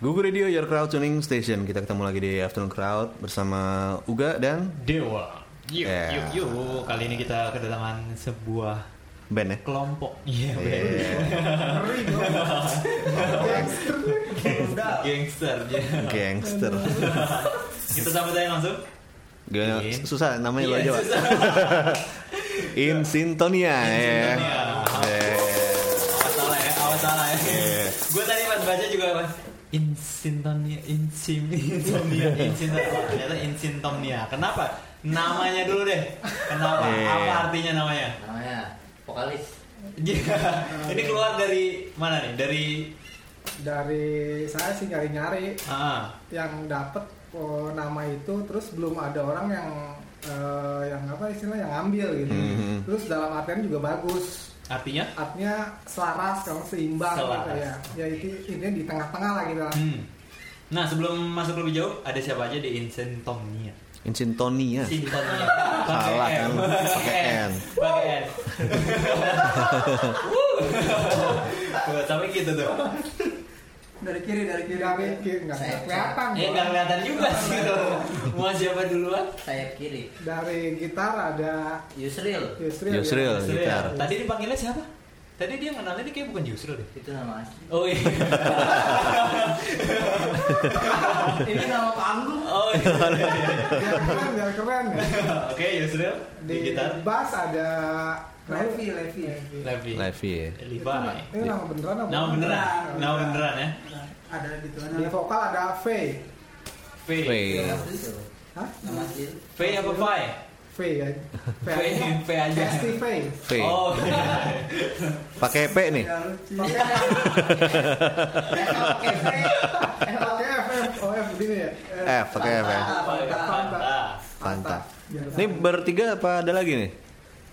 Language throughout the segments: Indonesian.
Google Radio Your Crowd Tuning Station. Kita ketemu lagi di Afternoon Crowd bersama Uga dan Dewa. Yuk, Yeah. yuk, yuk. Kali ini kita kedatangan sebuah Ben ya. kelompok. Iya, Iya. bener. gangster. ya. Gangster. Kita sambut aja langsung. Gimana? Iya. Susah namanya lo Iya, aja, Pak. susah. In Sintonia ya. Sintonia. Iya. Awas salah ya, awas salah ya. Iya. Gue tadi pas baca juga mas. Insintonia, insim, insintonia, insintonia. Wah, Ternyata insintonia. Kenapa? Namanya dulu deh. Kenapa? Iya. Apa artinya namanya? Iya. namanya vokalis Ini keluar dari mana nih? Dari dari saya sih nyari-nyari ah, yang dapet oh, nama itu terus belum ada orang yang eh, yang apa istilah yang ngambil gitu Mhm. terus dalam artian juga bagus artinya? artinya selaras kalau seimbang gitu Selaras. ya ya itu ini di tengah-tengah lah gitu lah Hmm. Nah sebelum masuk lebih jauh ada siapa aja di Insentomnia? In Sintonia. Sintomnia. Salah Pakai kan? N. Pakai N. Pakai N. Wuh. Sampai gitu tuh. dari kiri dari kiri dari ki- nggak Saya- kelihatan Ya gua. nggak kelihatan juga sih. tuh. Mau siapa duluan? sayap kiri dari gitar ada Yusril Yusril, ya. Yusril Yusril gitar. ya? Tadi dipanggilnya siapa? Tadi dia kenalnya dia kayak bukan Yusril deh. itu nama asli Oh iya. Ah, ini nama panggung Oh iya. biar keren biar keren ya. Oke Yusril di di gitar. bass ada Levi Levi Levi. Levi ya. Levi. ini nama beneran apa? Nama beneran. Nama beneran ya. ada di tuan di vokal ada V V. V. nama asli Iya, itu Hah? nama asli itu. V apa Pai? V ya V V. V aja. Pasti V V. Oh. iya. Pakai P nih. Ya, Pakai pakai F F oh F begini ya Eh, F pakai F ya. Fanta. Fanta. biar Ini bertiga apa ada lagi nih?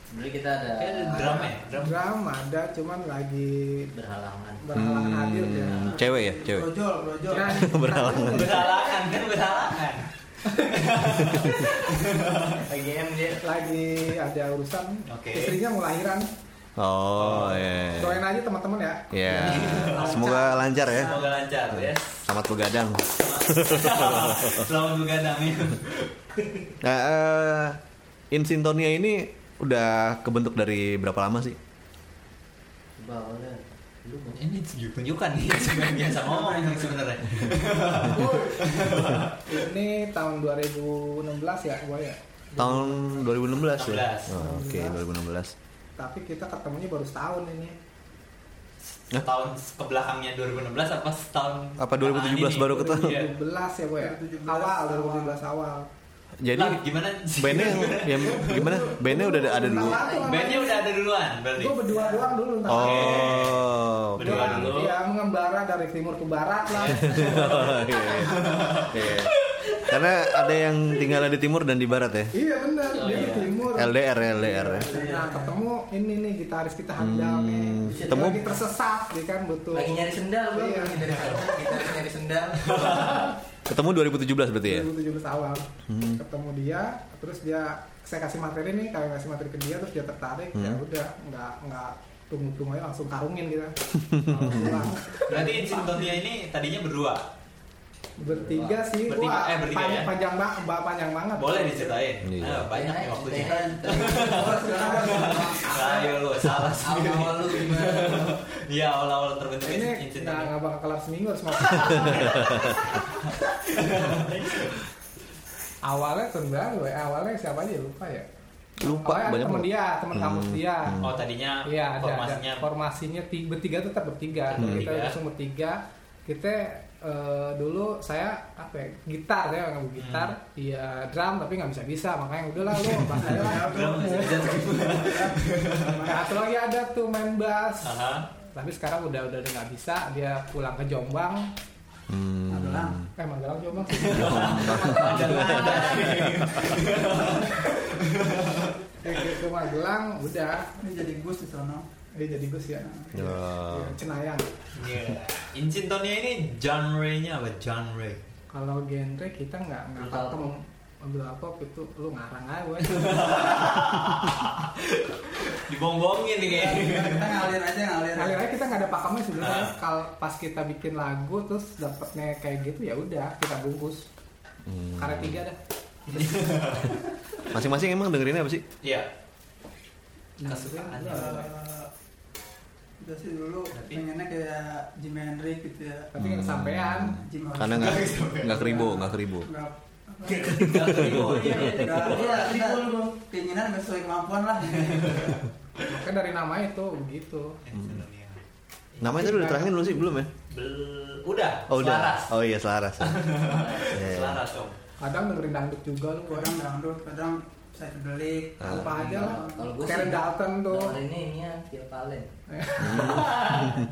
sebenarnya kita ada Kayak ada drum ya, drum. drama ada cuman lagi berhalangan berhalangan hadir ya Hmm, cewek ya, cewek. brojol brojol Berhalangan. Berhalangan kan berhalangan. lagi MJ lagi ada urusan Oke. istrinya mau lahiran Oh, iya. doain aja teman-teman ya Ya, semoga lancar ya. Semoga lancar ya. Selamat begadang. Selamat begadang ya. Nah, eh, In Sintonia ini udah kebentuk dari berapa lama sih? coba oleh lu mau Ini tunjuk-tunjukan nih sebenarnya biasa ngomong ini sebenarnya. ini tahun 2016 ya gua ya Tahun 2016 ya. 16. Oh, Oke, 2016. tapi kita ketemunya baru setahun ini Tahun kebelakangnya 2016 apa setahun Apa 2017 ini? baru ketemu? Iya. 2017 ya gua ya awal 2017 awal Jadi Lah, gimana? bandnya yang, yang gimana? Bandnya udah ada, ada dulu. Bandnya udah ada duluan berarti. gue berdua doang dulu ntar. Oh, oke. Berdua dulu. Ya mengembara dari timur ke barat lah. Oh, iya, iya. Iya. Karena ada yang tinggal di timur dan di barat ya. iya benar, Oh, dia di timur. LDR ya, LDR ya. Hmm. Nah ketemu ini nih gitaris kita handal nih. ketemu. Lagi tersesat, dia kan butuh. lagi nyari sendal bro Iya. lagi dari sendal kita harus nyari sendal Ketemu 2017 berarti ya. 2017 awal Hmm. ketemu dia terus dia saya kasih materi nih kalian kasih materi ke dia terus dia tertarik ya Hmm. udah nggak nggak tunggu tunggu aja langsung karungin kita Langsung pulang. Berarti Insintonia ini tadinya berdua. bertiga sih Bertiga, wah eh, bertiga panjang, ya? panjang ba- ba- panjang banget Boleh diceritain. Iya. Ah, banyak nih Ya, waktunya. ceritain. Terus, terus. Ayo lo salah sendiri. awal-awal lu gimana Iya awal-awal terbentuk ini nggak Insintonia. nggak bakal kelar seminggu harus masuk. awalnya sebenarnya gue awalnya siapa aja lupa ya Lupa banyak Awalnya ada banget. temen ya Hmm. dia temen kampus dia Oh tadinya iya ada, ada. formasinya formasinya ti- bertiga tetap bertiga kita Bertiga. langsung bertiga kita eh, dulu saya apa ya, gitar ya nggak Hmm. mau gitar iya drum tapi nggak bisa bisa makanya udahlah lu bass aja lah Drum masih bisa Iya. Nah, satu lagi ada tuh main bass Aha. tapi sekarang udah udah udah nggak bisa dia pulang ke Jombang Hmm. eh Magelang Jombang sih Eh, ke, ke Magelang udah ini jadi gus di sana dia jadi Gus ya Oh. Iya, Cenayang Iya. Insintonia ini genre-nya apa? Genre. kalau genre kita nggak nggak Metal. ketemu ambil laptop itu gitu. lu ngarang aja gue Dibong-bongin nih kayaknya. kita ngalir aja ngalir aja akhirnya kita nggak ada pakemnya Nah. sebenarnya Ah. kalau pas kita bikin lagu terus dapetnya kayak gitu ya udah kita bungkus karet tiga dah hmm. Masing-masing emang dengerinnya apa sih? Iya. Nah, Kesukaan itu, ya. eh, kita sih dulu Tapi- pengennya kayak Jimi Hendrix gitu ya tapi nggak kesampean Jimi Karena nggak nggak keribo, nggak Oh. keribo. nggak Gak terima. nggak- iya, kita keinginan nggak sesuai kemampuan lah maka dari namanya itu gitu. begitu Insintomnia. Namanya tadi udah terangin lu sih belum ya? Bel- Udah. Oh udah. Selaras. Oh iya selaras. Iya, iya. Selaras dong. kadang dengerin dangdut juga lu gue kadang dangdut kadang saya kedelik Ah. apa aja lah Iya, Kalau gue sih Karen Dalton tuh ini ini ya Phil Palen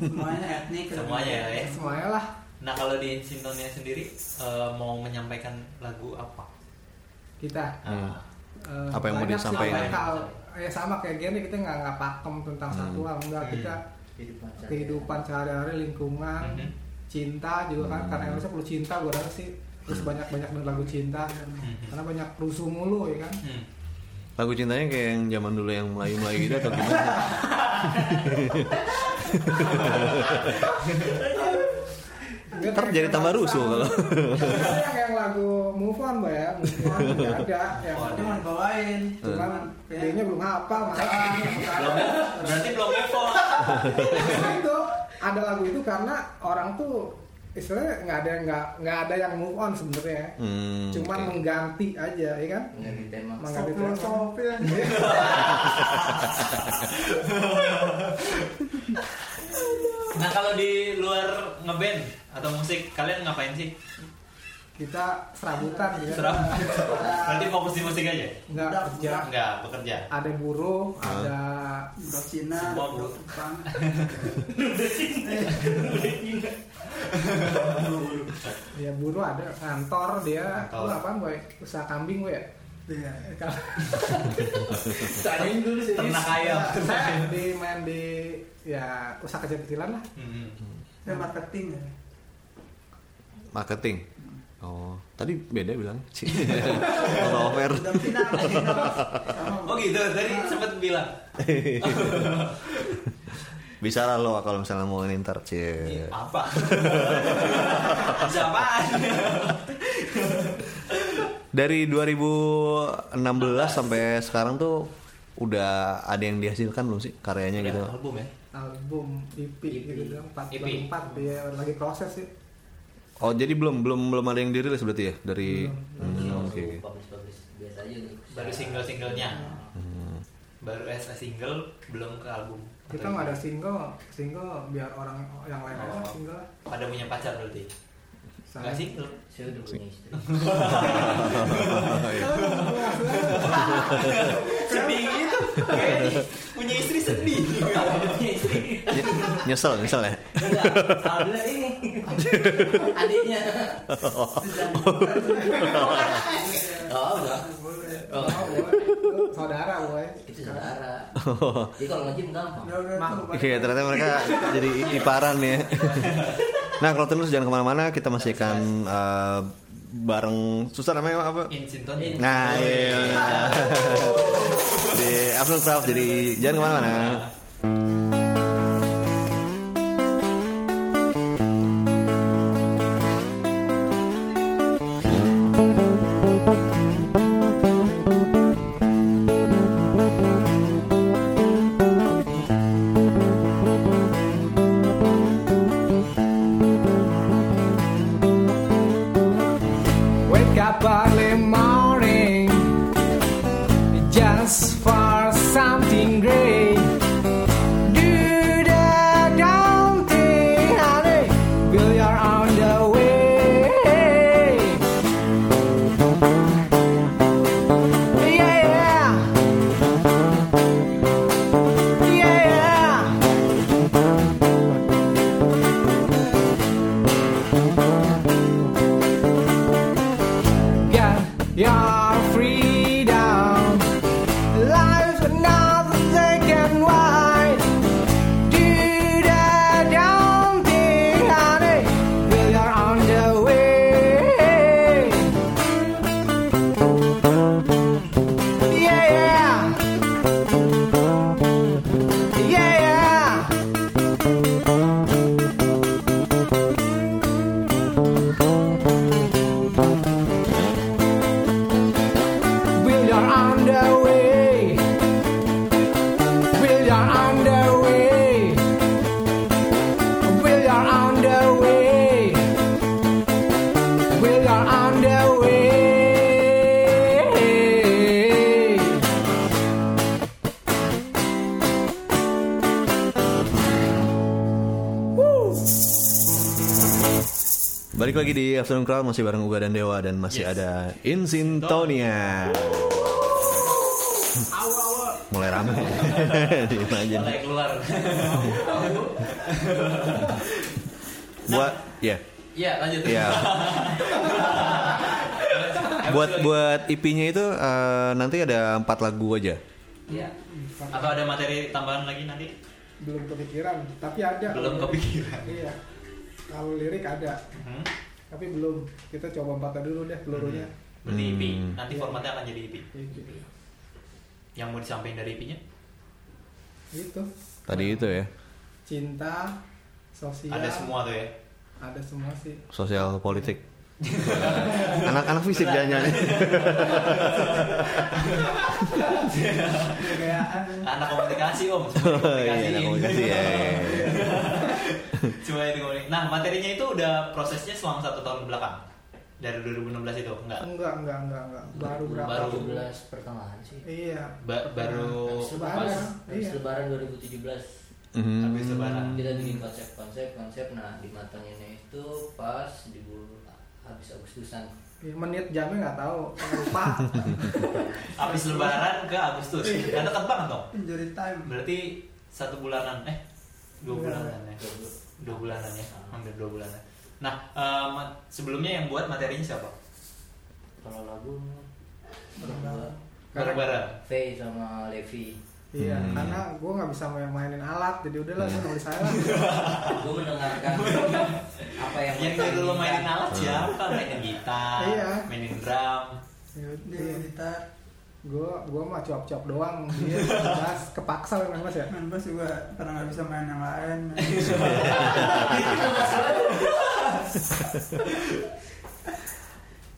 semuanya etnik Semuanya ya, ya. eh, semuanya lah Nah kalau di Insintonia sendiri eh, mau menyampaikan lagu apa? kita Hmm. Eh, Apa yang mau banyak sih, disampaikan? banyak hal. ya sama kayak gini kita nggak nggak pakem tentang Hmm. satu hal enggak Iya. Hmm. kita kehidupan sehari-hari. kehidupan sehari-hari lingkungan Hmm. Mhm. cinta juga kan Hmm. karena Indonesia perlu cinta gue rasa sih terus banyak banyak lagu cinta Hmm. karena banyak rusuh mulu ya kan Hmm. Lagu cintanya kayak yang zaman dulu yang Melayu-Melayu gitu atau gimana? Dia Ntar kayak jadi tambah lagu rusuh sang. kalau. Banyak yang lagu move on mbak ya move on nggak ada yang Tapi mau dibawain Eh. kan cuman kayaknya belum hafal malah Ah. Berarti belum level. Nah, itu ada lagu itu karena orang tuh istilahnya nggak ada yang nggak nggak ada yang move on sebenarnya Hmm, cuman oke. mengganti aja ya kan menjadi tema mengganti tema Nah kalau di luar ngeband atau musik kalian ngapain sih? kita serabutan ya Serap. Berarti fokus di musik aja. nggak Udah, kerja udah. Enggak bekerja. ada buruh ada Budak Cina, Semua budak budak. Jepang. ya buruh ada kantor dia Kantor. lu apa boy usaha kambing gue ya Iya. Tadi dulu sih Ternak ayam. Iya, saya di main di ya usaha kecil-kecilan lah Hmm. Saya marketing ya. Marketing. Oh, tadi beda bilang. Cih. Auto offer. Budak Cina. Sama, Oh gitu, tadi sempet bilang Bisa lah lo kalau misalnya mau ini ntar cie. apa? Bisa apaan? Dari 2016 sampai sekarang tuh udah ada yang dihasilkan belum sih karyanya gitu? Udah, Album ya. album EP E gitu dong empat EP. baru empat ya lagi proses sih Oh jadi belum belum belum ada yang dirilis berarti ya dari Hmm, oke. oke. publish publish biasa aja nih Baru single-singlenya. Hmm. Baru as a single, belum ke album. kita Atau nggak ada gimana? single single biar orang yang lain aja lah single lah Pada punya pacar berarti. Saya- Enggak single. saya udah punya istri Oh, iya. Sedih gitu. Kayak nih, punya istri sedih. punya istri. Ny- nyesel nyesel ya. enggak salah ini adiknya oh enggak oh Lu saudara boy itu saudara jadi kalau ngajim gampang Udah, udah, Mak. tuh, Oke ternyata mereka jadi i- iparan ya. Nah kalau terus jangan kemana-mana kita masih akan eh, bareng susah namanya apa? In Sinton. Nah iya. nah. Di Afternoon Craft jadi jangan kemana-mana. Wake up early morning just for something great. Do the damn thing, honey. Bill, you're on the way. Yeah, yeah. Yeah, yeah. get your freedom. Life's another second wide. Do the damn thing, honey. Well, you're on the way. Balik lagi di Afternoon Crowd masih bareng Uga dan Dewa dan masih Yes. ada Insintonia. Mulai ramai. Imagine. Mulai keluar. Buat ya. Iya lanjut. Iya. buat buat IP-nya itu eh, nanti ada empat lagu aja. Iya. Atau ada materi tambahan lagi nanti? belum kepikiran tapi ada Belum kepikiran. iya kalau lirik ada Hmm? tapi belum kita coba empatnya dulu deh pelurunya Gitu. Berarti Hmm. EP. Nanti formatnya akan jadi EP. Yang mau disampaikan dari EP-nya? itu Tadi itu ya. cinta sosial Ada semua tuh ya. ada semua sih Sosial politik. Anak-anak fisik jangan kegayaan Anak komunikasi om. Semua Iya, anak komunikasi, ya, ya, ya. Cuma itu komunikasi. Nah materinya itu udah prosesnya selama satu tahun belakang. Dari 2016 itu enggak. enggak enggak enggak enggak baru berapa Baru. 17 pertengahan sih. iya Ba- baru Habis lebaran, Lebaran, habis iya. lebaran 2017 Mhm. habis lebaran. Hmm, kita bikin konsep-konsep konsep nah dimatanginnya itu pas di bulan habis Agustusan Ya, menit jamnya nggak tahu lupa Habis lebaran ke Agustus. Gak deket banget dong. Injury time. Berarti satu bulanan eh dua Iya. bulanan ya. Dua bulanan ya. Hampir dua bulanan. Nah, eh, ma- sebelumnya yang buat materinya siapa? kalau lagu Bareng-bareng. Barbara. Faye sama Levi iya Hmm. Iya. karena gue nggak bisa main mainin alat jadi udahlah saya nulis saya lah gue mendengarkan apa Yang yang mereka dulu mainin inginkan. alat siapa? Mainin gitar, Iya. mainin drum. Ya Dia gitar, gue gue mah cuap-cuap doang dia bebas kepaksa memang mas ya main bass Kan juga karena nggak bisa main yang lain.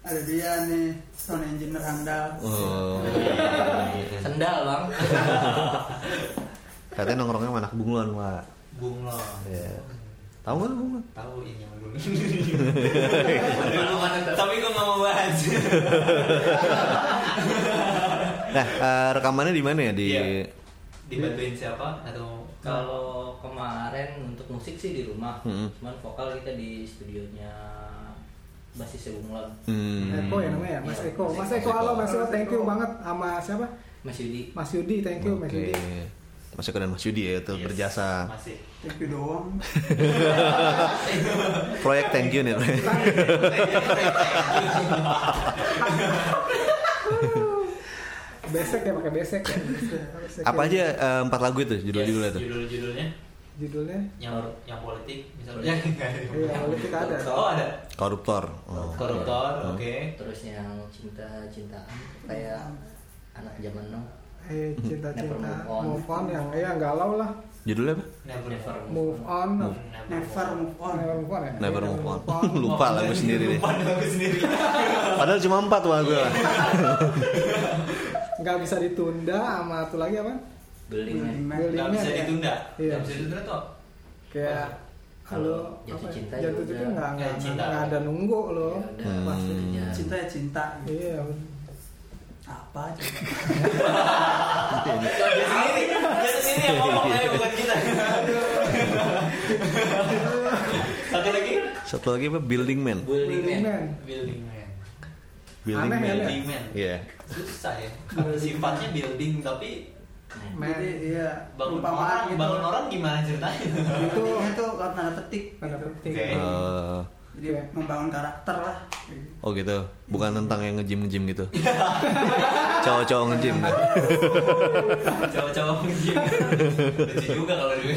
Ada dia nih, sound engineer handal. Oh. iya. sendal bang Katanya nongkrongnya sama anak bunglon, Pak. Bunglon. Iya. Tahu nggak lu bunglon? Tahu ini yang dulu. Tapi gue nggak mau bahas. Nah, eh, rekamannya di mana ya? Di Iya. Dibantuin siapa atau kalau kemarin untuk musik sih di rumah Mm-mm. cuman vokal kita di studionya basis Bunglon Hmm. Eko ya namanya ya Mas Iya. Eko Mas Mas Eko Eko. halo Mas Eko thank you banget sama siapa Mas Yudi Mas Yudi thank you Mas Oke. Yudi Mas Eko dan Mas Yudi ya itu Yes, berjasa. Masih. Tapi doang. Proyek thank you nih. besek ya pakai besek ya Besek Apa ya. aja eh, empat lagu itu judul-judulnya Yes, tuh? Judul-judulnya judulnya yang yang politik misalnya. Politik. iya boleh kita ada Oh ada Koruptor. Oh. koruptor, oke. terus yang cinta cintaan kayak Hmm. anak zaman now eh Hmm. cinta-cinta Never move on. move on yang iya galau lah Judulnya apa? Never Never move on Never move on. Never move on ya? Never Iya, move on. Lupa lagu sendiri deh. Lupa lagu sendiri. Padahal cuma empat wah gue. nggak bisa ditunda sama satu lagi apa Building Man. Building Gak Man bisa ya? ditunda. Iya. Gak bisa ditunda tuh. kayak Kalau kalau jatuh apa ya? cinta jatuh juga. cinta Ya, nggak nggak cinta. nggak ada nunggu lo Ya udah, Hmm. Pasti. ya. Hmm. Cinta ya cinta. iya Apa aja. Dia sendiri, dia sendiri yang ngomong ayo bukan kita. Satu lagi Satu lagi apa? Building Man. Building Building Man. Man building man. Building Aneh ya, Man. Building man. Iya. Susah ya. Karena Sifatnya building tapi Man. Jadi iya bangun perumpamaan orang, gitu. bangun orang gimana ceritanya? itu itu kalau tanda petik. tanda penting Oke. Eh, Jadi Iya. membangun karakter lah. oh gitu. Bukan tentang yang nge-gym nge-gym gitu. Cowok-cowok nge-gym. Cowok-cowok mungkin. Lucu juga kalau dia.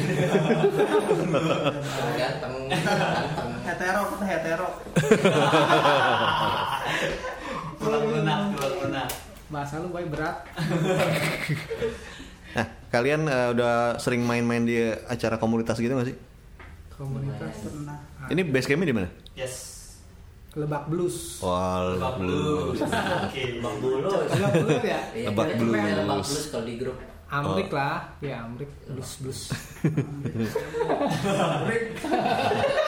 Ganteng. Ganteng. Hetero kita hetero. Kurang lunak, kurang lunak. bahasa lu baik berat Nah, kalian eh, udah sering main-main di acara komunitas gitu gak sih? komunitas Ah, Pernah. Ini base campnya di mana? Yes. lebak blues Wah, Lebak blues. Oke. Lebak bulus. lebak blues ya Iya, Lebak kayak bulus. kayak Lebak bulus kalau di grup. Amrik Oh. lah ya Amrik blues blues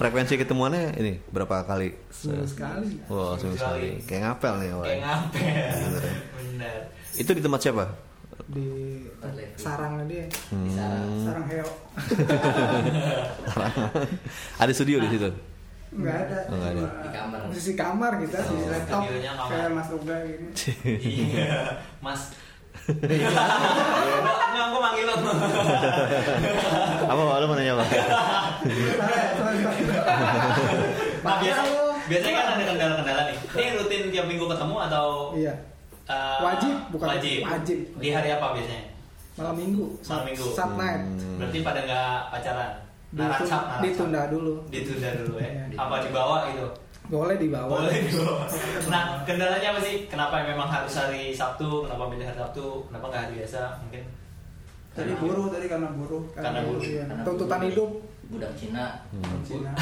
Frekuensi ketemuannya ini berapa kali? seminggu sekali Wah, seminggu sekali. Kayak ngapel nih, wah. Kayak ngapel. Bener. Itu di tempat siapa? di sarangnya dia Hmm. Di Hmm. sana. Sarang heo. Ada studio di situ. nggak ada Oh, nggak Hmm. ada. Di kamar. di sisi kamar kita di Oh. laptop Studionya kamar. kayak mas Uga gini Iya, Mas. Enggak, aku manggil lo. apa lu mau nanya apa Nah, biasa, biasanya kan ada kendala-kendala nih. Ini rutin tiap minggu ketemu atau iya eh, Wajib, bukan wajib. wajib. Di hari apa biasanya? malam minggu Malam minggu. Sat night Hmm. Berarti pada nggak pacaran. Ditunda, Naracap, naracap. ditunda dulu Ditunda dulu ya. Iya. Apa dibawa gitu? boleh dibawa Boleh dibawa. Nah, kendalanya apa sih? Kenapa memang harus hari Sabtu? Kenapa milih hari Sabtu? Kenapa nggak hari biasa? Mungkin Tadi buruh, tadi karena buruh. Karena buruh. iya. Anak tuntutan budak- hidup budak Cina Cina.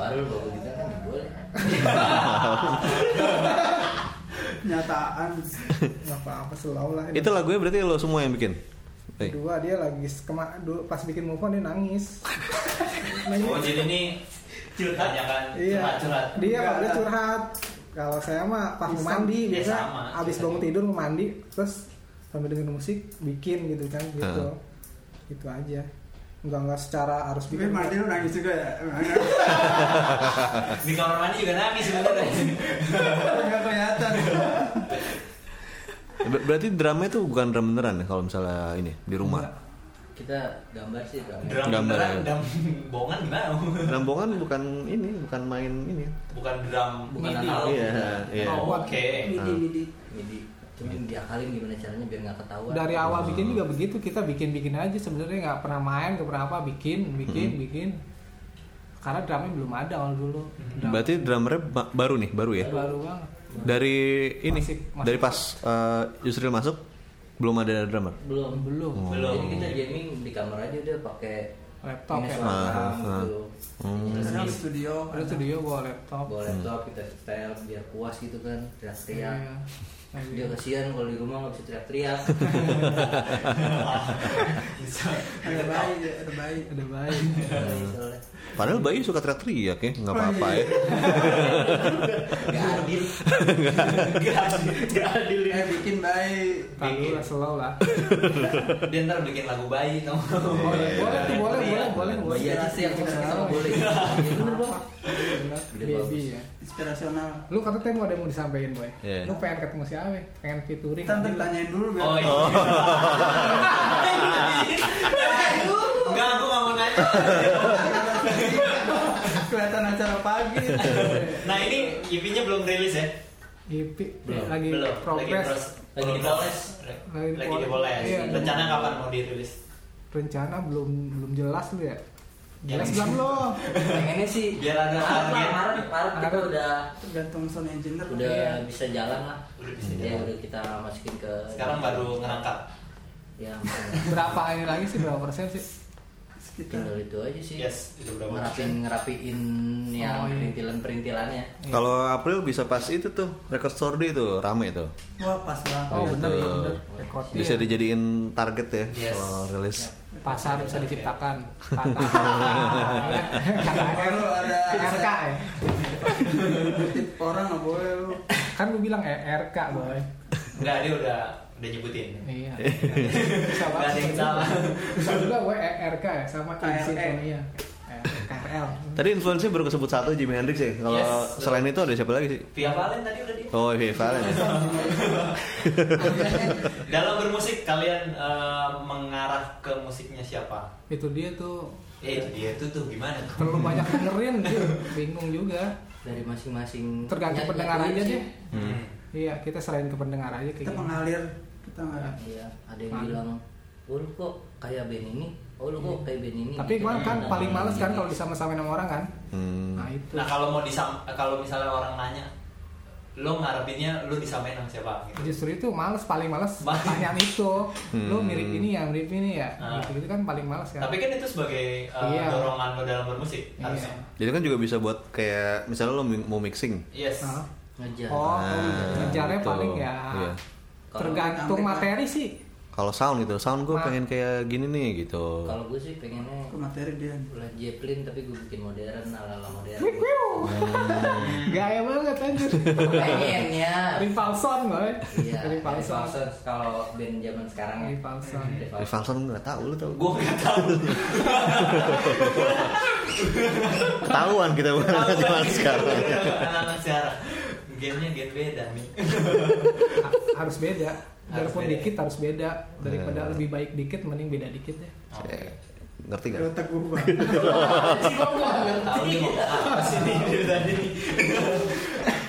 baru baru kita kan boleh Nyataan. nggak apa-apa selalu lah itu lagunya berarti lo semua yang bikin Eh, kedua dia lagi kema du- pas bikin move on dia nangis nangis Oh jadi ini curhat ya kan? iya Curhat-curhat. dia Nggak kalau dia ada. curhat kalau saya mah pas mau Bisa. mandi Ya, biasa sama. abis Bisa. bangun tidur mau mandi terus sambil dengerin musik bikin gitu kan gitu Heeh. gitu aja nggak nggak secara harus Tapi bikin Martin lu nangis juga ya. Di kamar mandi juga nangis sebenarnya. Enggak kelihatan. ber- berarti drama itu bukan drama beneran ya kalau misalnya ini di rumah kita gambar sih kan Drum Gambar beneran, ya. drum bohongan gimana? Rambongan bukan ini bukan main ini Bukan drum, bukan Midi. analog. Iya, iya. Oh, oke. Midi, midi. jadi cuma diakalin gimana caranya biar nggak ketahuan dari awal bikin juga begitu kita bikin bikin aja sebenarnya nggak pernah main nggak pernah apa bikin bikin bikin karena drumnya belum ada awal dulu Hmm. Drum berarti drummernya ba- baru nih baru ya baru banget dari ini Masih- masih- dari pas eh, Yusril masuk belum ada drummer belum belum Belum. jadi kita jamming di kamar aja udah pakai Laptop minus ya? orang Ah, orang ah. gitu Terus Karena di- studio. ada studio bawa laptop bawa laptop kita setel biar puas gitu kan Iya. teriak-teriak dia kasihan kalau di rumah nggak bisa teriak-teriak Ada bayi, ada bayi. Eh, ada baik soalnya padahal Bayu suka teriak-teriak ya Oh, nggak apa-apa iya. ya nggak adil Gak adil Eh bikin bayi. lagu Bikin. lah slow lah Dia ntar bikin lagu bayi tau boleh boleh tuh boleh boleh boleh boleh bayi aja sih yang sakit sama boleh Iya, bener bang Udah baby bagus. ya Inspirasional. lu kata teh mau ada yang mau disampaikan boy Iya. lu pengen ketemu siapa pengen featuring Kita ntar tanyain dulu biar. Oh iya Enggak, aku gak mau nanya Kelihatan acara pagi. Nah ini EP-nya belum rilis ya? EP Belum, lagi belum progress Lagi dipoles Lagi Lagi dipoles dipoles. Iya. Rencana kapan mau dirilis? rencana belum belum jelas lu ya Ya. jelas belum lo pengennya sih Biar ada Maret lah, target. Maret Maret kita Maret. udah Tergantung sound engineer. ya. udah bisa jalan lah Udah bisa ya jalan. udah kita masukin ke Sekarang baru ngerangkap ya berapa ini lagi sih berapa persen sih Sekitar. tinggal itu aja sih Yes, itu berapa persen? ngerapin ngerapiin yang Oh, iya. perintilan perintilannya kalau April bisa pas itu tuh record store day tuh rame tuh Wah pas banget. oh benar Gitu. benar rekodnya bisa dijadiin target ya Yes. kalau Iya. rilis pasar bisa diciptakan Iya. Patah. katanya Baru ada RK ya Tip orang nggak boleh lu. kan lu bilang eh, RK boy Enggak, dia udah udah nyebutin iya Gak bisa ada yang banget salah bisa juga gue eh, RK ya sama KRL. insin iya Eh, KRL tadi influencer baru kesebut satu Jimi Hendrix ya kalau Yes. selain itu ada siapa lagi sih Via Valen tadi udah di oh Vivi Valen ya. Dalam bermusik, kalian eh, mengarah ke musiknya siapa? itu dia tuh Ya itu dia itu tuh gimana? terlalu banyak dengerin gitu. bingung juga dari masing-masing tergantung Ya, pendengar iya, nyanyi aja sih. deh Hmm. iya kita selain ke pendengar aja kayak Kita gitu. mengalir. Kita mengalir. Iya, ada yang Mana? bilang, oh lu kok kayak band ini, oh lu kok kayak band ini. tapi gue kan Iya. Nah, paling males kan jadi, kalau disama-samain sama orang kan Hmm. nah itu Nah kalau mau disam, kalau misalnya orang nanya, lo ngarepinnya lo disamain sama siapa? Gitu. justru itu males paling males Males. pertanyaan itu lu Hmm. mirip ini ya mirip ini ya Ah. gitu gitu kan paling males kan Tapi kan itu sebagai eh, Iya. dorongan lo dalam bermusik Iya. harusnya. jadi kan juga bisa buat kayak misalnya lo mi- mau mixing Yes. Ah. Ngejar. oh Nah, iya. ngejarnya gitu. paling ya Iya. tergantung Kalau- materi sih Kalau sound gitu, sound gue pengen kayak gini nih gitu. Kalau gue sih pengennya Ke materi dia. Led Zeppelin tapi gue bikin modern ala ala modern. Gaya banget anjir. Pengennya. Ring Falson boy. Iya. Ring Falson. Falson kalau band zaman sekarang ya. Ring Falson. Rick Falson. Rivalson gue gak tau, lu tau Gue nggak tahu. Ketahuan kita banget zaman sekarang Anak-anak sekarang. Gennya gen beda nih. Ha- harus beda. Walaupun beda. dikit harus beda daripada Iya. lebih baik dikit mending beda dikit ya. Eh, Ngerti gak? Otak gue banget. Tahu nih mau apa sih nih dari tadi.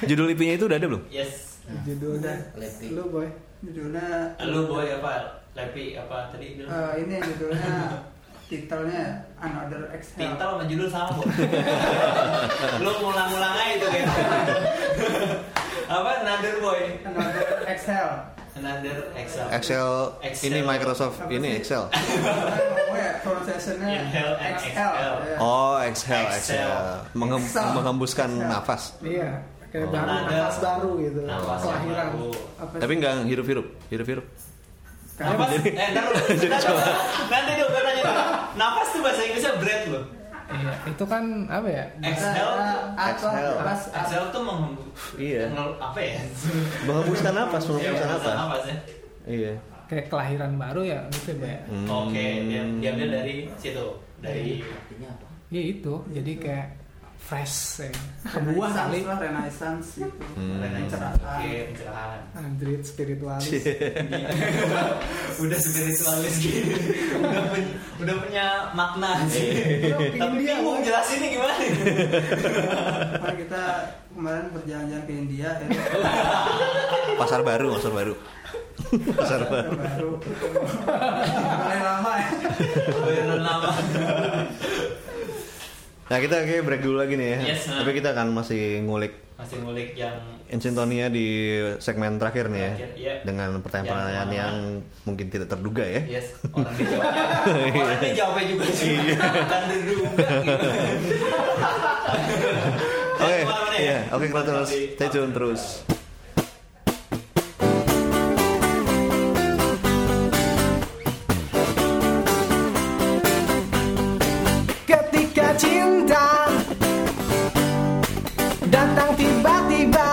Judul IP-nya itu udah ada belum? Yes. Judulnya Lepi. lu boy. Judulnya Lu boy apa? Lepi apa tadi bilang? Eh, ini judulnya titelnya Another Exhale. Tintal sama judul sama kok. Lu ngulang-ngulang aja itu kayak. apa another boy? Another Exhale. Another Excel. Excel, Excel. ini Microsoft, Apa ini sih? Excel Oh ya, pronunciation-nya Inhale and exhale. ya. Oh, Excel, Excel. Excel Menghem- Excel. Menghembuskan Excel. nafas Iya. Kayak Oh. Nah. baru Ada. nafas baru gitu. Nafas yang Kelahiran. baru. Apa Tapi nggak hirup-hirup, hirup-hirup Napas, eh, ntar lu- ntar lu- nanti dong gue nanya dulu. Napas tuh bahasa Inggrisnya breath loh. Iya, itu kan apa ya? Exhale, Exhale. Exhale. Pas exhale tuh menghembus. Iya. Ngel- apa ya? Menghembuskan nafas, Iya, menghembuskan bahasa nafas napas ya. Iya Kayak kelahiran baru ya gitu ya. Boy. Hmm. Oke, dia diambil dari situ, dari Artinya apa? Ya itu, jadi kayak fresh ya. Kebuah Renaissance kali. lah, Renaissance gitu. Hmm. pencerahan. Renaissance. Oke, pencerahan. Android spiritualis. Udah spiritualis gitu. Udah, pen- udah punya makna Iya. sih. Tapi India, bingung jelasinnya gimana? Makanya kita kemarin berjalan-jalan ke India akhirnya Pasar baru, pasar baru Pasar baru kita baru mulai lama ya. Bayaran lama. Nah kita kayak break dulu lagi nih ya Yes, nah. Tapi kita akan masih ngulik Masih ngulik yang Insintonia di segmen terakhir nih ya Terakhir, iya. Dengan pertanyaan-pertanyaan Yang Iya. yang mungkin tidak terduga ya Yes, orang dia jawabnya. orang dia jawabnya juga sih. Iya. Dan diduga gitu. Oke, Jangan kemana-mana ya. iya, oke kita terus stay tune terus. ketika cinta datang tiba-tiba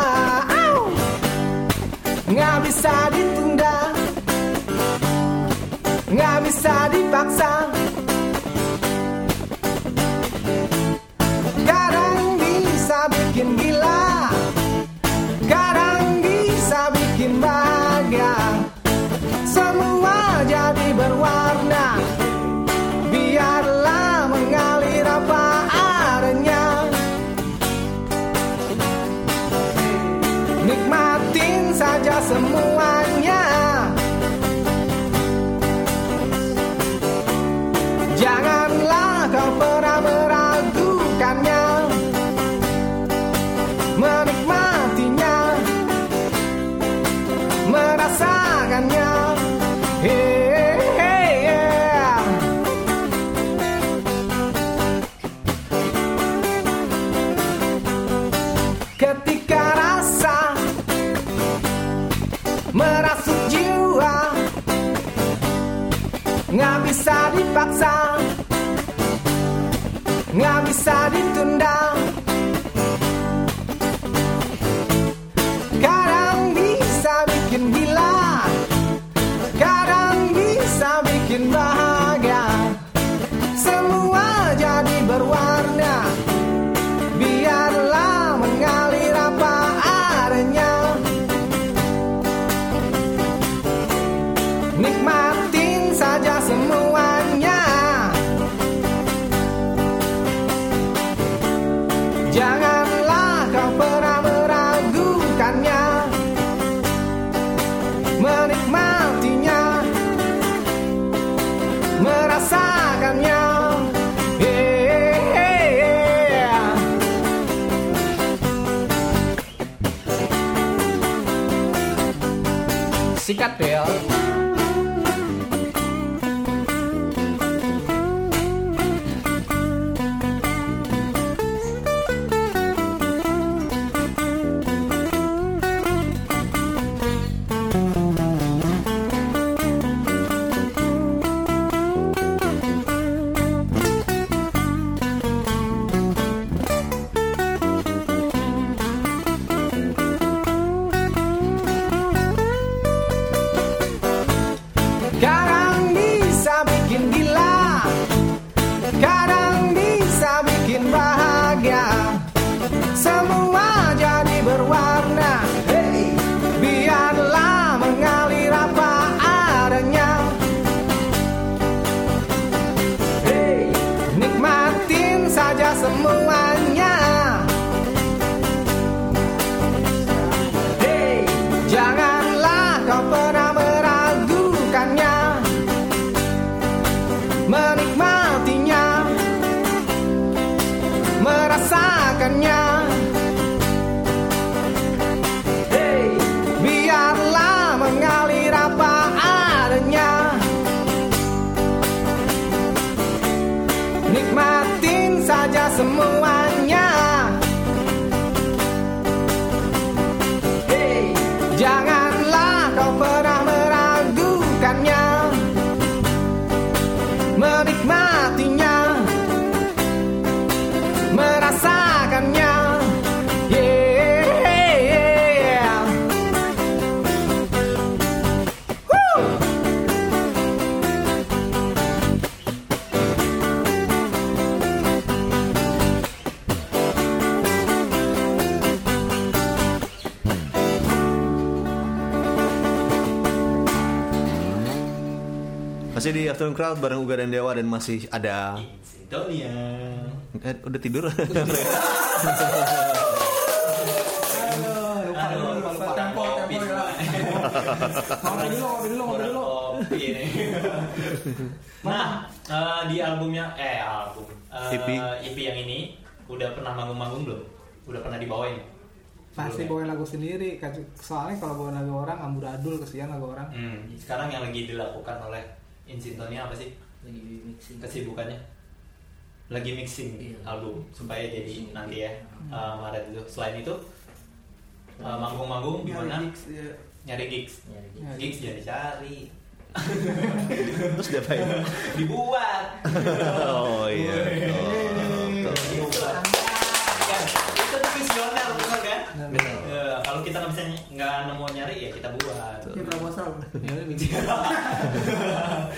au, nggak bisa ditunda nggak bisa dipaksa kadang bisa bikin gila kadang bisa bikin bahagia semua jadi berwarna biarlah mengalir apa adanya nikmatin saja semuanya janganlah kau pernah meragukannya menikmatinya merasakannya Hey, hey, yeah. ketika rasa merasuk jiwa nggak bisa dipaksa nggak bisa ditunda kadang bisa bikin gila kadang bisa bikin bahagia semua jadi berwarna biarlah mengalir apa adanya nikmatin saja semuanya janganlah kau pernah meragukannya menikmatinya merasakannya Yeah, yeah, yeah. Sikat Bel merasakannya Hey, biarlah mengalir apa adanya Nikmatin saja semuanya Hey, janganlah kau pernah meragukannya Menikmatinya Merasakannya Yeah Masih di Afternoon Crowd bareng Uga dan Dewa dan masih ada Sintonia. eh, udah tidur. Aduh, lupa Tempo, kopi tempo, ya. semua. Ngopi dulu, ngopi dulu, ngopi Orang dulu. kopi ini. Nah, eh, di albumnya eh album eh, EP. EP yang ini udah pernah manggung-manggung belum? Udah pernah dibawain? Belum ya? Pasti bawain lagu sendiri. Kaj- Soalnya kalau bawain lagu orang amburadul kesian lagu orang. Hmm, sekarang yang lagi dilakukan oleh Insintonia apa sih lagi di mixing kesibukannya? Lagi mixing Iya. album supaya jadi Mixing. nanti ya Hmm. eh, Maret itu. Selain itu eh, manggung-manggung di mana? Nyari gigs, iya. Nyari gigs. nyari gitu. Ya, Gigs jadi cari, Terus diapain? dibuat. Oh iya. Oh, betul. Dibuat. Ya, itu visioner bener kan? Ya, kalau kita nggak bisa ny- nggak nemu nyari ya kita buat. Ini proposal. Ya udah bikin.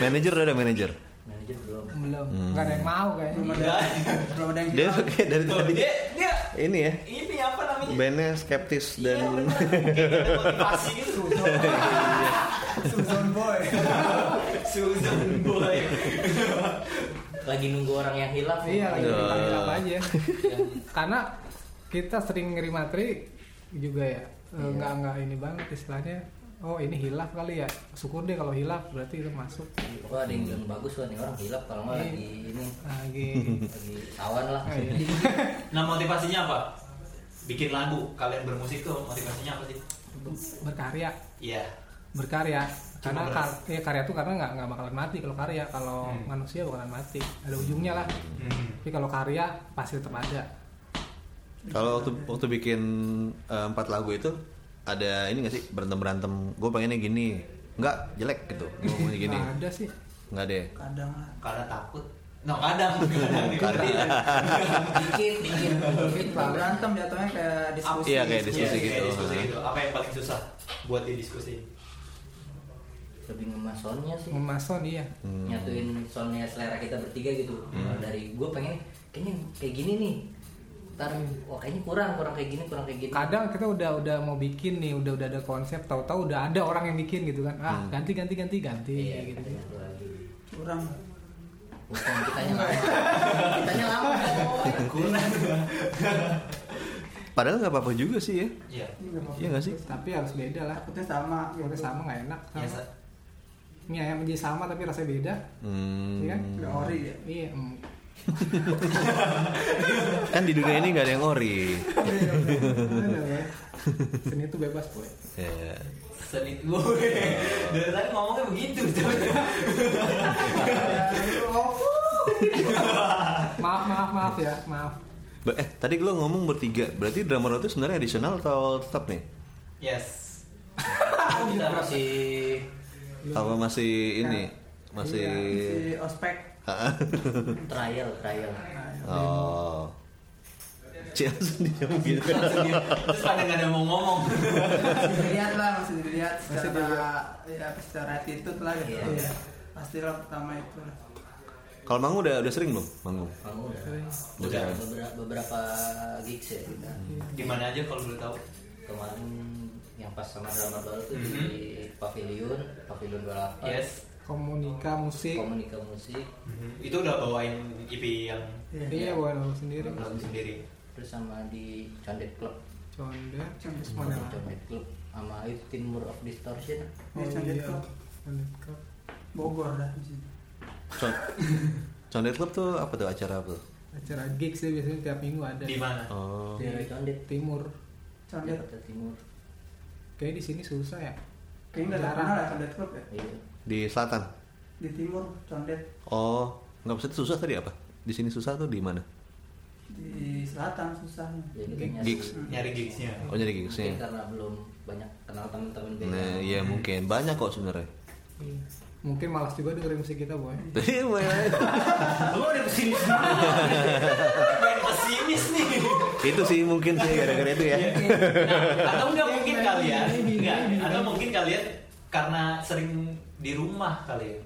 Manager udah ada manager. manajer belum Belum. Iya. Nggak ada yang mau kayaknya. Belum ada, Enggak. belum ada yang Hmm. Dia jual. kayak dari Tuh, tadi dia dia ini ya. ini apa namanya? Bandnya skeptis Iya, dan bener. Kayak kita motivasi gitu. Susan Boy. Susan boy. lagi nunggu orang yang hilaf Iya lagi Iya. hilang aja. Yang Karena kita sering ngirim materi juga ya. Eh, Nggak nggak ini banget istilahnya. Oh ini hilaf kali ya. Syukur deh kalau hilaf berarti itu masuk eh, Wah ada yang bilang bagus wah nih orang hilaf kalau nggak lagi ini lagi. lagi sawan lah Ah, iya. Nah motivasinya apa? Bikin lagu, kalian bermusik tuh motivasinya apa sih? berkarya Iya. berkarya karena Cuma kar- ya, karya itu karena nggak nggak bakalan mati kalau karya kalau Hmm. manusia bakalan mati ada ujungnya lah Hmm. tapi kalau karya pasti tetap ada kalau waktu, waktu bikin eh, empat lagu itu ada ini gak sih berantem berantem. Gue pengennya gini. Enggak jelek gitu. Gue pengennya gini. Nggak ada sih Enggak deh. Kadang lah. Karena takut. No, kadang. Kadang. dikit dikit dikit Kalau lah berantem jatuhnya kayak diskusi. Iya, kayak diskusi Iya, gitu. kayak diskusi gitu. Apa yang paling susah buat di diskusi? lebih ngemasonnya sih memason iya nyatuin soalnya selera kita bertiga gitu Kalau dari gue pengen kayaknya kayak gini nih ntar wah kayaknya kurang kurang kayak gini kurang kayak gini kadang kita udah udah mau bikin nih udah udah ada konsep tahu-tahu udah ada orang yang bikin gitu kan ah ganti ganti ganti ganti iya kayak gitu gitu lagi Kurang. bukan kitanya lama kitanya lama nggak mau. Padahal nggak apa-apa juga sih ya. Iya. Iya nggak sih? tapi harus beda lah Takutnya sama. Ya udah sama nggak enak Iya, sama. Sa. mie ayam aja sama tapi rasanya beda Hmm. Iya kan? Udah ori ya. iya mm. Kan di dunia ini nggak ada yang ori. Bener, ya. seni itu bebas boy Ya. Seni gue. Dari tadi ngomongnya begitu. maaf maaf maaf ya maaf Ba- Eh, tadi lo ngomong bertiga, berarti drummer lo itu sebenarnya additional atau tetap nih? Yes. kita masih Apa masih ini? Masih Si ospek. trial trial oh. Cia sendiri mungkin. Terus pada nggak ada yang mau ngomong. Masih dilihat lah, masih dilihat Masih secara ya secara attitude lah gitu. Iya. Iya. Pasti lah pertama itu. lah. Kalau manggung udah udah sering belum manggung? kamu udah Udah. udah beberapa, beberapa gigs ya Di mana aja kalau boleh tahu? kemarin yang pas sama drama baru tuh Mhm. di pavilion pavilion 28 Yes. komunika musik komunika musik Mm-hmm. Itu udah bawain EP yang iya bukan lo sendiri lagu sendiri. terus sama di Condet Club conda Condet. terus mana lagi? Condet Club sama itu Timur of Distortion Oh, Ini Condet iya. Club. Condet Club. Bogor dah di situ. Con- Condet Club tuh apa tuh acara apa tuh? acara gigs sih biasanya tiap minggu ada Di mana? Oh. Di Condet. timur Condet Jakarta Timur. kayaknya di sini susah ya kayaknya nggak ada Jarang. pernah ada condet klub ya Iya. Di selatan. di timur condet Oh, nggak maksudnya susah tadi apa? Di sini susah tuh di mana? di selatan susahnya Ya, kita Iya, gitu. Gigs. nyari- Gigs. Nyari gigsnya. Oh jadi Mungkin gigsnya. karena belum banyak kenal teman-teman band. Nah, iya mungkin banyak kok sebenarnya. mungkin malas juga dengerin musik kita ya. boy Jadi banyak. Lu ada kesini sendiri. Main pesimis nih. itu sih mungkin sih gara-gara itu ya. Nah, atau enggak mungkin kalian enggak atau mungkin kalian karena sering di rumah kali ya.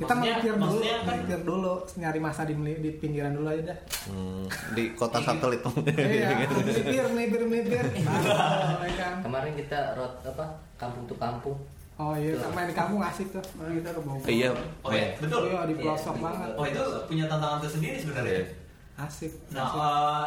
kita Maksudnya- mikir dulu maksudnya kan mikir dulu nyari masa di, meli- di pinggiran dulu aja dah Hmm, di kota satelit. iya melipir melipir melipir Nah, ya kan. Kemarin kita road apa kampung tuh kampung. oh iya main di kampung asik tuh Kemarin kita ke Bogor Iya. Oh ya, betul. iya di Iya, pelosok di- banget Oh itu punya tantangan tersendiri sebenarnya. Iya. asik Nah, asik.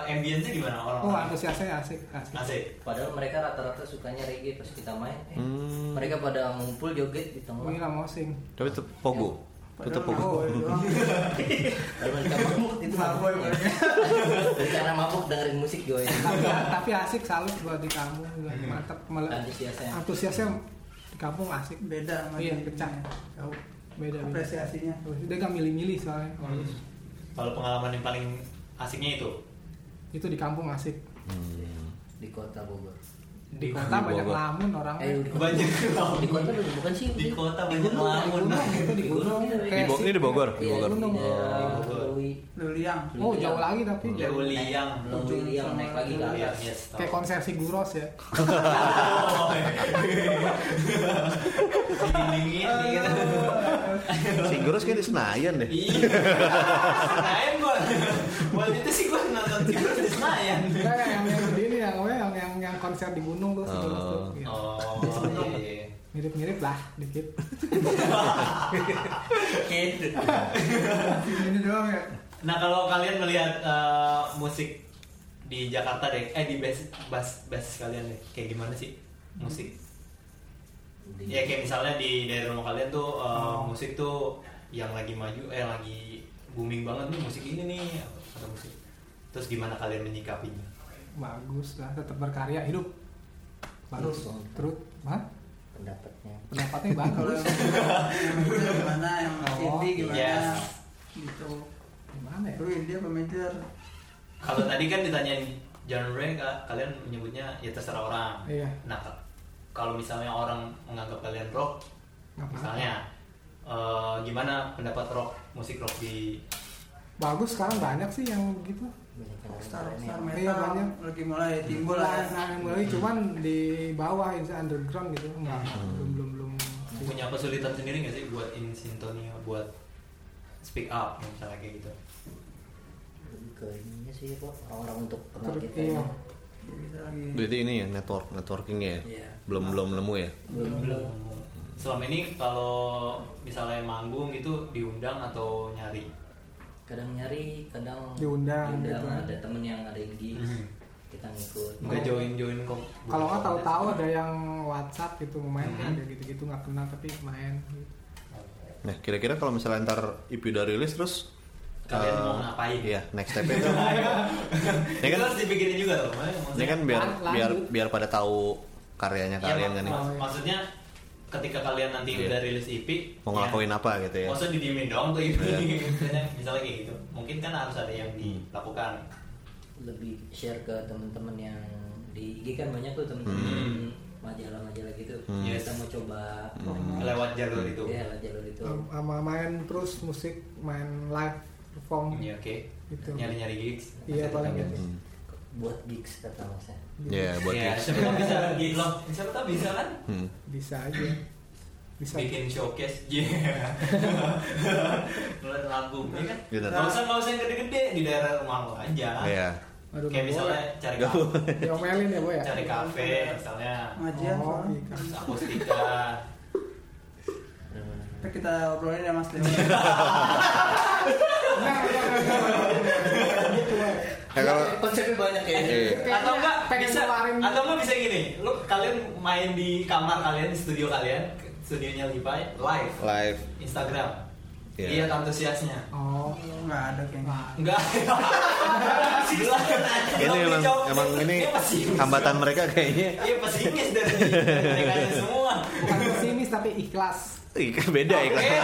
eh, ambience-nya gimana orang? oh antusiasnya asik asik Asik. Padahal mereka rata-rata sukanya reggae pas kita main. Eh, Hmm. Mereka pada ngumpul joget di ini tengah. lah mosing Tapi tetap pogo. Padahal Tetap pogo. mabok doang. Kalau mereka mabuk itu mabuk. Karena mabuk dengerin musik gue. tapi, tapi asik salut buat di kampung juga mantep malah Antusiasnya. antusiasnya di kampung asik beda sama Iya, di- pecah. jauh beda beda apresiasinya dia gak milih-milih soalnya Oh, iya. kalau Kalau pengalaman yang paling asiknya itu. itu di kampung asik Di kota Bogor. di kota Di banyak Bogor. lamun orang Eh, di kota. Banyak lamun. Di kota dulu, bukan sih. Di kota banyak gunung, di lamun. gunung. itu di gunung Di Bo- ini di Bogor, di Iya, Bogor. di Gunung. Bogor. Iya. Luliang oh jauh lagi tapi Jauh jauh liang. Belum yang naik lagi ke Liang, atas. yes, tau. kayak konsersi guros ya Didingin gitu. Singurus kayak di Senayan deh. Iya. Senayan gua. Waktu itu sih gua nonton Cibubur di Senayan. Enggak, yang yang gede ini yang ya, yang yang yang konser di gunung tuh segala tuh Oh. gitu. Oh, iya. mirip-mirip lah dikit Gitu. ini doang ya Nah, kalau kalian melihat eh, musik di Jakarta deh, eh di base bas bas kalian deh, kayak gimana sih musik? Ya Iya, kayak misalnya di daerah rumah kalian tuh eh, musik tuh yang lagi maju, eh lagi booming banget nih musik ini nih atau musik. Terus gimana kalian menyikapinya? bagus lah tetap berkarya hidup bagus Terus. terus Hah? Pendapatnya. pendapatnya bagus yang major gimana yang Oh, indie iya. gimana yes. gitu gimana ya lu indie apa major Kalau tadi kan ditanyain genre, Kak, kalian menyebutnya ya terserah orang. Iya. Nah, k- kalau misalnya orang menganggap kalian rock, Nggak apa-apa. misalnya eh, gimana pendapat rock musik rock di bagus sekarang banyak sih yang gitu Banyak yang star keren ya. star Iya, metal banyak. lagi mulai timbul lah ya. mulai nah, mulai cuman di bawah itu underground gitu nggak belum belum belum punya kesulitan sendiri nggak sih buat in sintonia buat speak up misalnya kayak gitu Lebih ke ininya sih kok orang-orang untuk kenal Terus, kita. iya. ya. Kita lagi Berarti ini ya network networkingnya ya. Iya. Belum belum nemu ya. Belum belum. selama ini kalau misalnya manggung gitu diundang atau nyari Kadang nyari, kadang Diundang, gitu. Ada temen yang ada yang gigs, Mhm. kita ngikut. nggak join join kok kalau nggak tahu-tahu ada yang WhatsApp gitu mau main ada gitu-gitu nggak kenal tapi main gitu. Nah, kira-kira kalau misalnya ntar EP udah rilis terus Kalian eh, mau ngapain? Iya, next step itu. ya itu kan, harus dipikirin juga loh makanya ya maksudnya- kan biar Lan- lanjut. biar biar pada tahu karyanya Iya, kalian kan mak- ya. mak- maksudnya ketika kalian nanti Iya. udah rilis EP Mau ngelakuin apa gitu ya. maksudnya didiemin doang tuh EP Iya. misalnya, misalnya kayak gitu mungkin kan harus ada yang dilakukan lebih share ke teman-teman yang di IG kan banyak tuh teman-teman majalah-majalah gitu. Hmm. Kita mau coba lewat jalur itu Iya. ya lewat jalur Gitu. itu. sama main terus musik main live perform Iya, oke Gitu. nyari nyari gigs iya paling gitu Buat gigs kata Mas. ya. Ya, Hmm. buat ya, gigs. siapa tahu bisa gig loh siapa tahu bisa kan Hmm. bisa aja bisa bikin showcase Iya. yeah. ngeliat album ya kan Gitu. nggak usah nggak usah yang gede-gede di daerah rumah lo aja Iya. Aduh, kayak nggak misalnya cari Nggak kafe boleh. diomelin ya boy ya cari kafe misalnya pengajian Oh, soalnya. iya. terus akustika Ntar kita obrolin ya mas Dewa gitu, Ya, Iya, kalau Konsepnya banyak ya. Iya. atau enggak pengen bisa ngeluarin. atau enggak bisa gini lu kalian main di kamar kalian di studio kalian studionya Levi live live Instagram Iya. Lihat antusiasnya. oh nggak ada kayaknya Enggak. Ini emang emang ini hambatan mereka kayaknya Iya pesimis dari mereka semua. bukan pesimis tapi ikhlas Ih, beda ya, ikhlas. Iya.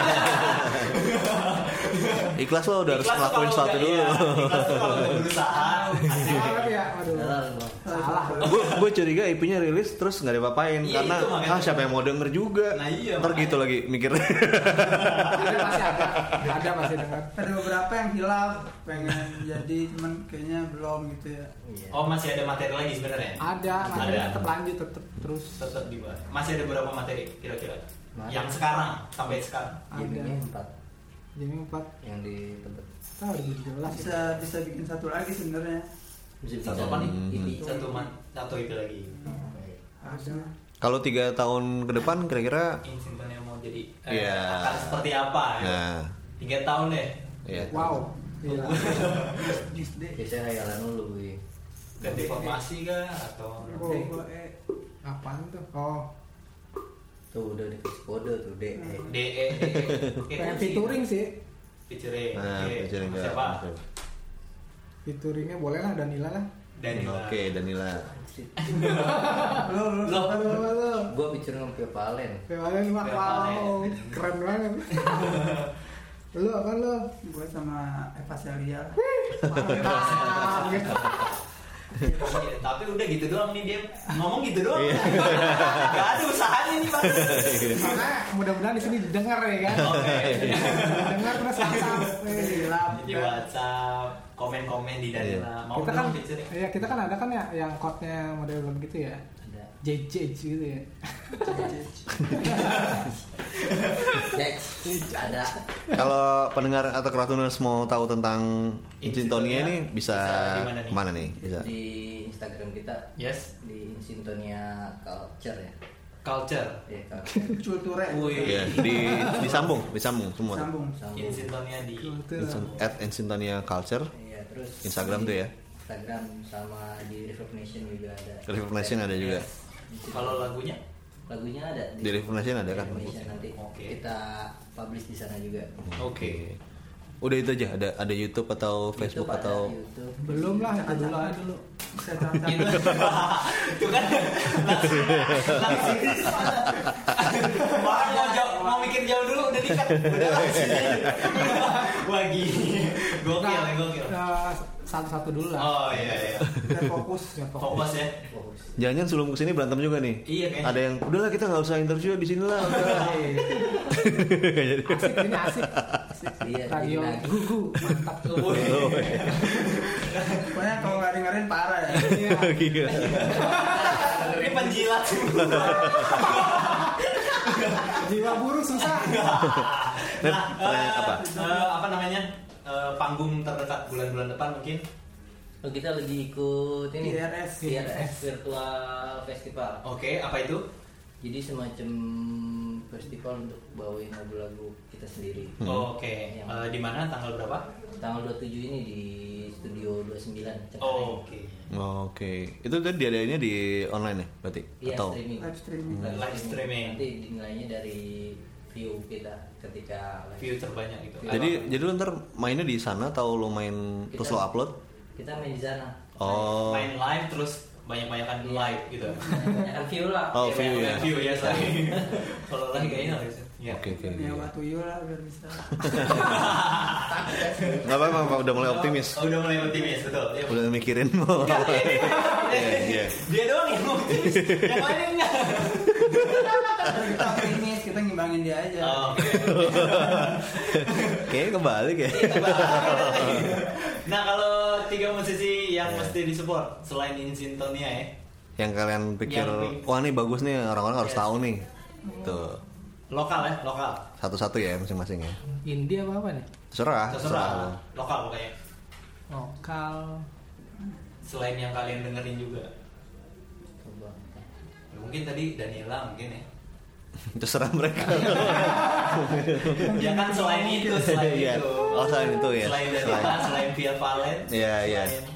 Ikhlas lo udah harus Ikhlas tuh ngelakuin kalau sesuatu udah- dulu. iya, ikhlas tuh kalau udah berusaha. salah tapi ya waduh Salah lu, Bang. salah Gue gue curiga IP-nya rilis terus nggak dipapain Iya, karena itu makanya. ah siapa yang mau denger juga. Nah, iya, Ntar gitu lagi mikir. Ada masih ada ada masih dengar ada beberapa yang hilaf pengen jadi cuman kayaknya belum gitu ya Iya. Oh masih ada materi lagi sebenarnya. ada masih Ada. tetap lanjut tetap terus Tetap dibahas. Masih ada berapa materi kira-kira? Mana? Yang sekarang sampai sekarang. ada Gamenya empat jadi empat yang di tempat tahun 2017 ya. bisa bisa bikin satu lagi sebenarnya bisa Satu apa nih? Hmm. Satu man, satu itu lagi. Iya. ada Kalau tiga tahun ke depan kira-kira Insinton yang mau jadi eh, Iya. akan seperti apa? Ya? nah Tiga tahun deh. ya. wow gila. biasanya hayalan dulu gue Ganti formasi kah atau Oh. DOE apaan tuh oh tuh udah dikasih kode tuh E. DE DE? kayak featuring sih E. Featuring. Nah, oke. featuring ke- Sama Siapa? featuringnya boleh lah Danila lah Danila. Oke, Danila. lo lo Lo. lo lo lo gue bicara sama Pio Valen Valen mah wow keren banget lu apa lu gue sama Eva Celia mantap gitu Iya, tapi udah gitu doang nih dia ngomong gitu doang. Gak ada usahanya nih pak. karena mudah-mudahan di sini didengar ya kan Oke. dengar terus WhatsApp eh. Di WhatsApp komen-komen di Danila. Mau kita kan dong featuring. ya kita kan ada kan ya yang code-nya model belum gitu ya ada JJ gitu ya Dex ada Kalau pendengar atau keratuners mau tahu tentang Insintonia ini bisa ya. Bisa di mana nih? mana nih? Bisa. di Instagram kita Yes. di Sintonia Culture ya Culture. ya Culture culture Wih. Iya, di disambung, disambung semua. tuh. sambung Sambung. Insintonnya di Insin- At Insintonia Culture Iya, terus Instagram di tuh ya? Instagram sama di Reverb Nation juga ada Reverb Nation ada juga. kalau lagunya lagunya ada Di Reverb Nation ada kan? Reverb Nation nanti Oke. kita publish di sana juga Oke. Udah itu aja. Ada ada YouTube atau Facebook YouTube ada, atau YouTube. belum lah itu dulu aja dulu bisa cacat itu itu kan langsung langsung Wah, mau jauh mau mikir jauh dulu udah dikat udah langsung wah gini gokil ya, Nah, gokil eh, satu-satu dulu lah oh iya iya biar fokus ya fokus fokus ya Fokus. Jangan sebelum kesini berantem juga nih. Iya, kayaknya. Ada yang udahlah kita nggak usah interview di sini lah. udahlah." Nggak jadi. asik ini asik Iya, jadi radio nagih. gugu mantap Oh, iya. pokoknya kalau nggak dengerin parah ya Iya. Gila. ini penjilat jiwa buruh susah Net, nah pertanyaan eh, apa? eh, apa namanya Eh, panggung terdekat bulan-bulan depan mungkin Oh, kita lagi ikut ini IRS. IRS virtual festival. oke apa itu Jadi semacam festival untuk bawain lagu-lagu kita sendiri. Hmm. oke Eh, di mana tanggal berapa Tanggal 27 ini di studio 29. Cengkareng. Oh, oke Oke. Itu tadi diadainnya di online ya berarti? Iya, atau streaming. live streaming Live streaming. Nanti dinilainya dari view kita ketika live. view terbanyak gitu jadi jadi lu ntar mainnya di sana atau lu main Kita- terus lo upload? Kita main di sana. Oh. main live terus banyak-banyakan live gitu. Kebanyakan view lah. Oh, Iya, view banyak ya. View ya sorry. Kalau live kayaknya nggak bisa. Ya. Oke oke. ya waktu tuyul lah biar bisa Nggak apa-apa, Pak. udah mulai optimis. Oh, udah mulai optimis betul. Ya. Udah mikirin mau. Nggak, ini. Iya, iya. Dia doang yang optimis. Yang lainnya enggak. Tapi kita optimis kita ngimbangin dia aja Oh, oke. Kayaknya kebalik ya. Iya. Nah, kalau tiga musisi yang mesti disupport selain Insintonia ya. Yang kalian pikir, Yang- wah nih bagus nih orang-orang harus Yes. tahu nih. Tuh Lokal ya, lokal. satu-satu ya masing-masing ya. India apa apa nih Terserah. Terserah. Lokal pokoknya. lokal Selain yang kalian dengerin juga. Ya, mungkin tadi Danila mungkin ya. Terserah mereka. ya kan selain itu, selain Iya. itu. Oh, selain itu ya. Selain dari Selain. selain Via Valen. Iya, iya. selain-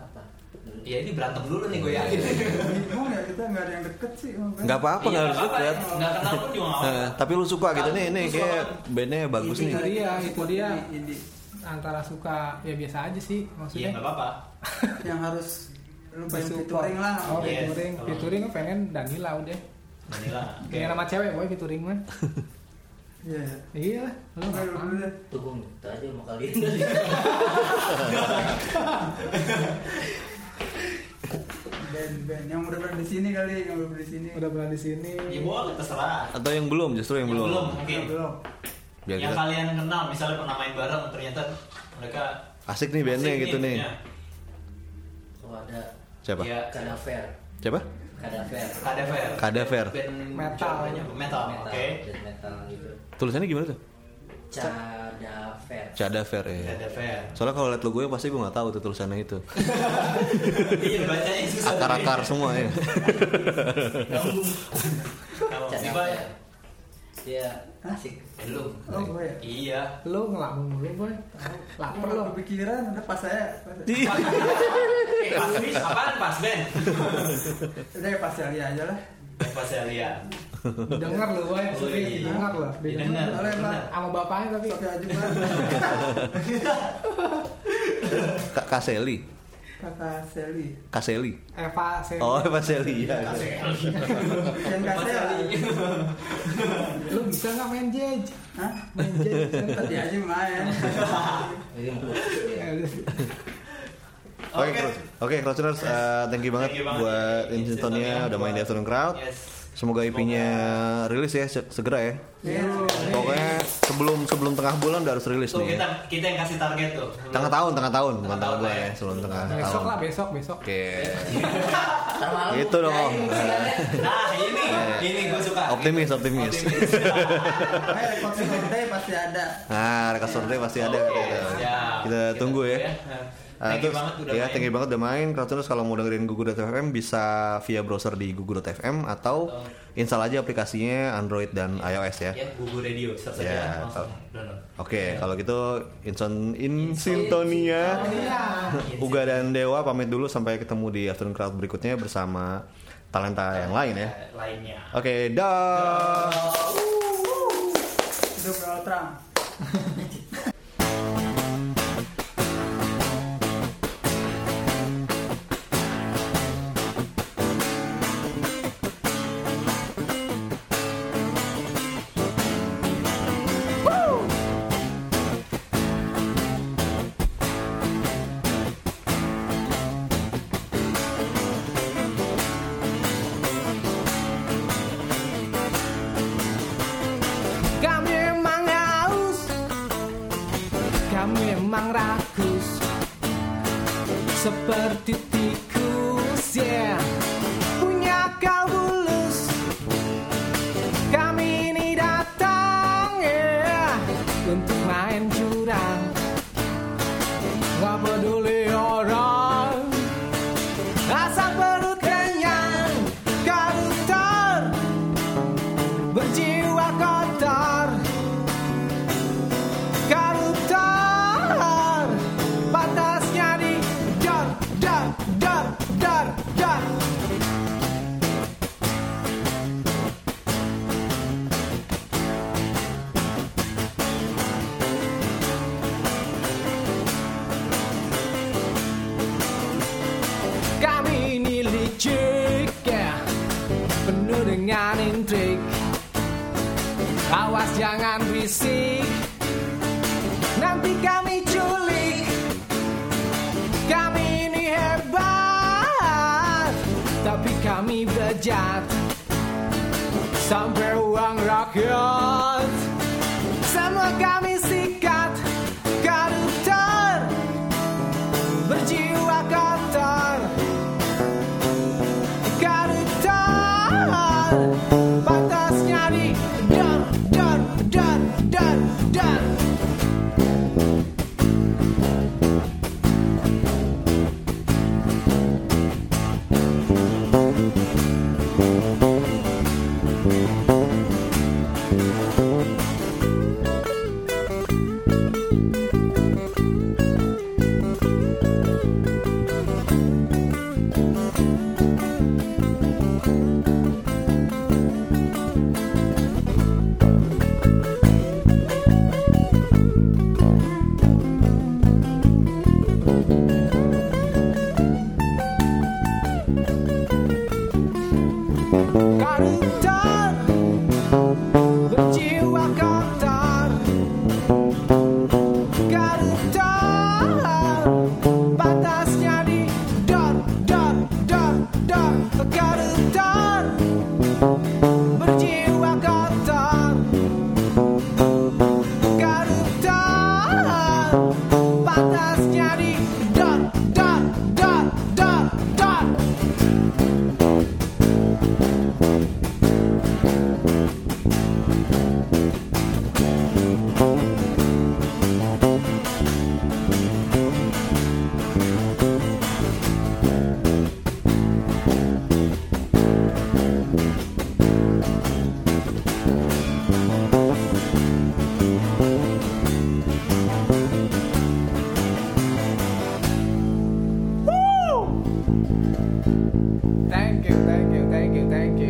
Apa? Dulu. ya ini berantem dulu nih gue yakin bingung ya kita nggak ada yang deket sih makanya. nggak apa-apa Iya, nggak harus apa-apa. deket nggak kenal pun juga nggak apa-apa Nah, tapi lu suka gitu nih ini Lu suka kayak bandnya bagus Ini nih kali. Iya, itu dia. Ini- ini. antara suka ya biasa aja sih iya maksudnya nggak apa-apa yang harus lu pengen disupport. featuring lah oh Yes, featuring tolong. featuring gue pengen Danila udah Manila pengen sama cewek boy featuring mah iya iya lah lu Oke, lu dulu ngapain? deh. Tuh gue minta aja sama kalian dari band band yang udah pernah di sini kali yang udah pernah di sini udah berada di sini ya boleh terserah atau yang belum justru yang belum mungkin belum biar yang kita kalian kenal misalnya pernah main bareng ternyata mereka asik nih bandnya asik ya. gitu nih bandnya. Kalau ada siapa Iya. kadaver, siapa kadaver, Kadaver Kadaver. Band Metal. Jawanya apa? metal metal, oke death metal gitu. tulisannya gimana tuh Cadaver. cadaver ya Kadaver soalnya kalau liat logonya pasti gue nggak tahu tuh tulisannya itu iya bacanya susah akar-akar semua ya Kalau Siva ya Iya, asik. belum oh gue ya iya lu ngelamun mulu boy Tahu, lapar perlu lo kepikiran udah pas saya pas saya. Eh, pas bis apaan pas band udah ya pas saya aja lah Eh, pas saya lihat denger lu boy Eh, Oh, sorry iya. denger lo Didengar, Boleh, Pak. benar. sama bapaknya tapi Sofi aja Pak. kak kaseli kata Sally kaseli Eva Seri oh pak seli ya yang Pas kasih ya. saya lihat. lu bisa nggak main jej Hah? main jej tadi aja main Jadi mau Ya, lu- Oke, Cross- oke, Crossroads, eh, thank you banget Thank you banget buat nih, Instintonnya Instintonnya, udah main di buat- Afternoon Crowd. yes Semoga IP-nya rilis ya se- segera ya. Iya. Pokoknya sebelum sebelum tengah bulan udah harus rilis tuh nih. kita ya. kita yang kasih target tuh Tengah tahun, tengah tahun, bukan Tengah tengah tahun bulan lah ya, ya. sebelum tengah besok tahun. lah besok besok Oke. Ntar malam Itu dong. Nah, ini sinyalnya. nah ini ini gue suka Iya. Optimis, optimis. Makanya rekod Sunday pasti ada Nah, rekas survei pasti ada. Oke, kita, siap. kita tunggu ya. Thank you terus, banget udah ya, main. thank you banget udah main. Kalau terus kalau mau dengerin gugu.fm bisa via browser di gugu.fm atau Atau- install aja aplikasinya Android dan iOS ya. Ya, Gugu Radio, search aja Ya, langsung. kalau- Download. Oke, kalau gitu Inson in Iya, Sintonia, Uga dan Dewa pamit dulu sampai ketemu di Afternoon Crowd berikutnya bersama talenta yang lain ya. Eh, Lainnya. Oke, dah. hidup Donald Trump Kami memang haus Kami memang rakus Seperti tikus ya Punya kau bulus Kami ini datang ya Untuk main curang Gak peduli orang Asal perut kenyang Karutor berjiwa kotor Karutar Batasnya di dar dar dar dar dar Kami ini licik ya Penuh dengan intrik Awas jangan berisik Nanti kami culik Kami ini hebat Tapi kami bejat Sampai uang rakyat Semua kami sikat Koruptor Berjiwa kotor Koruptor Batasnya di Dan, dan, dan, dan, dan Thank you, thank you, thank you, thank you.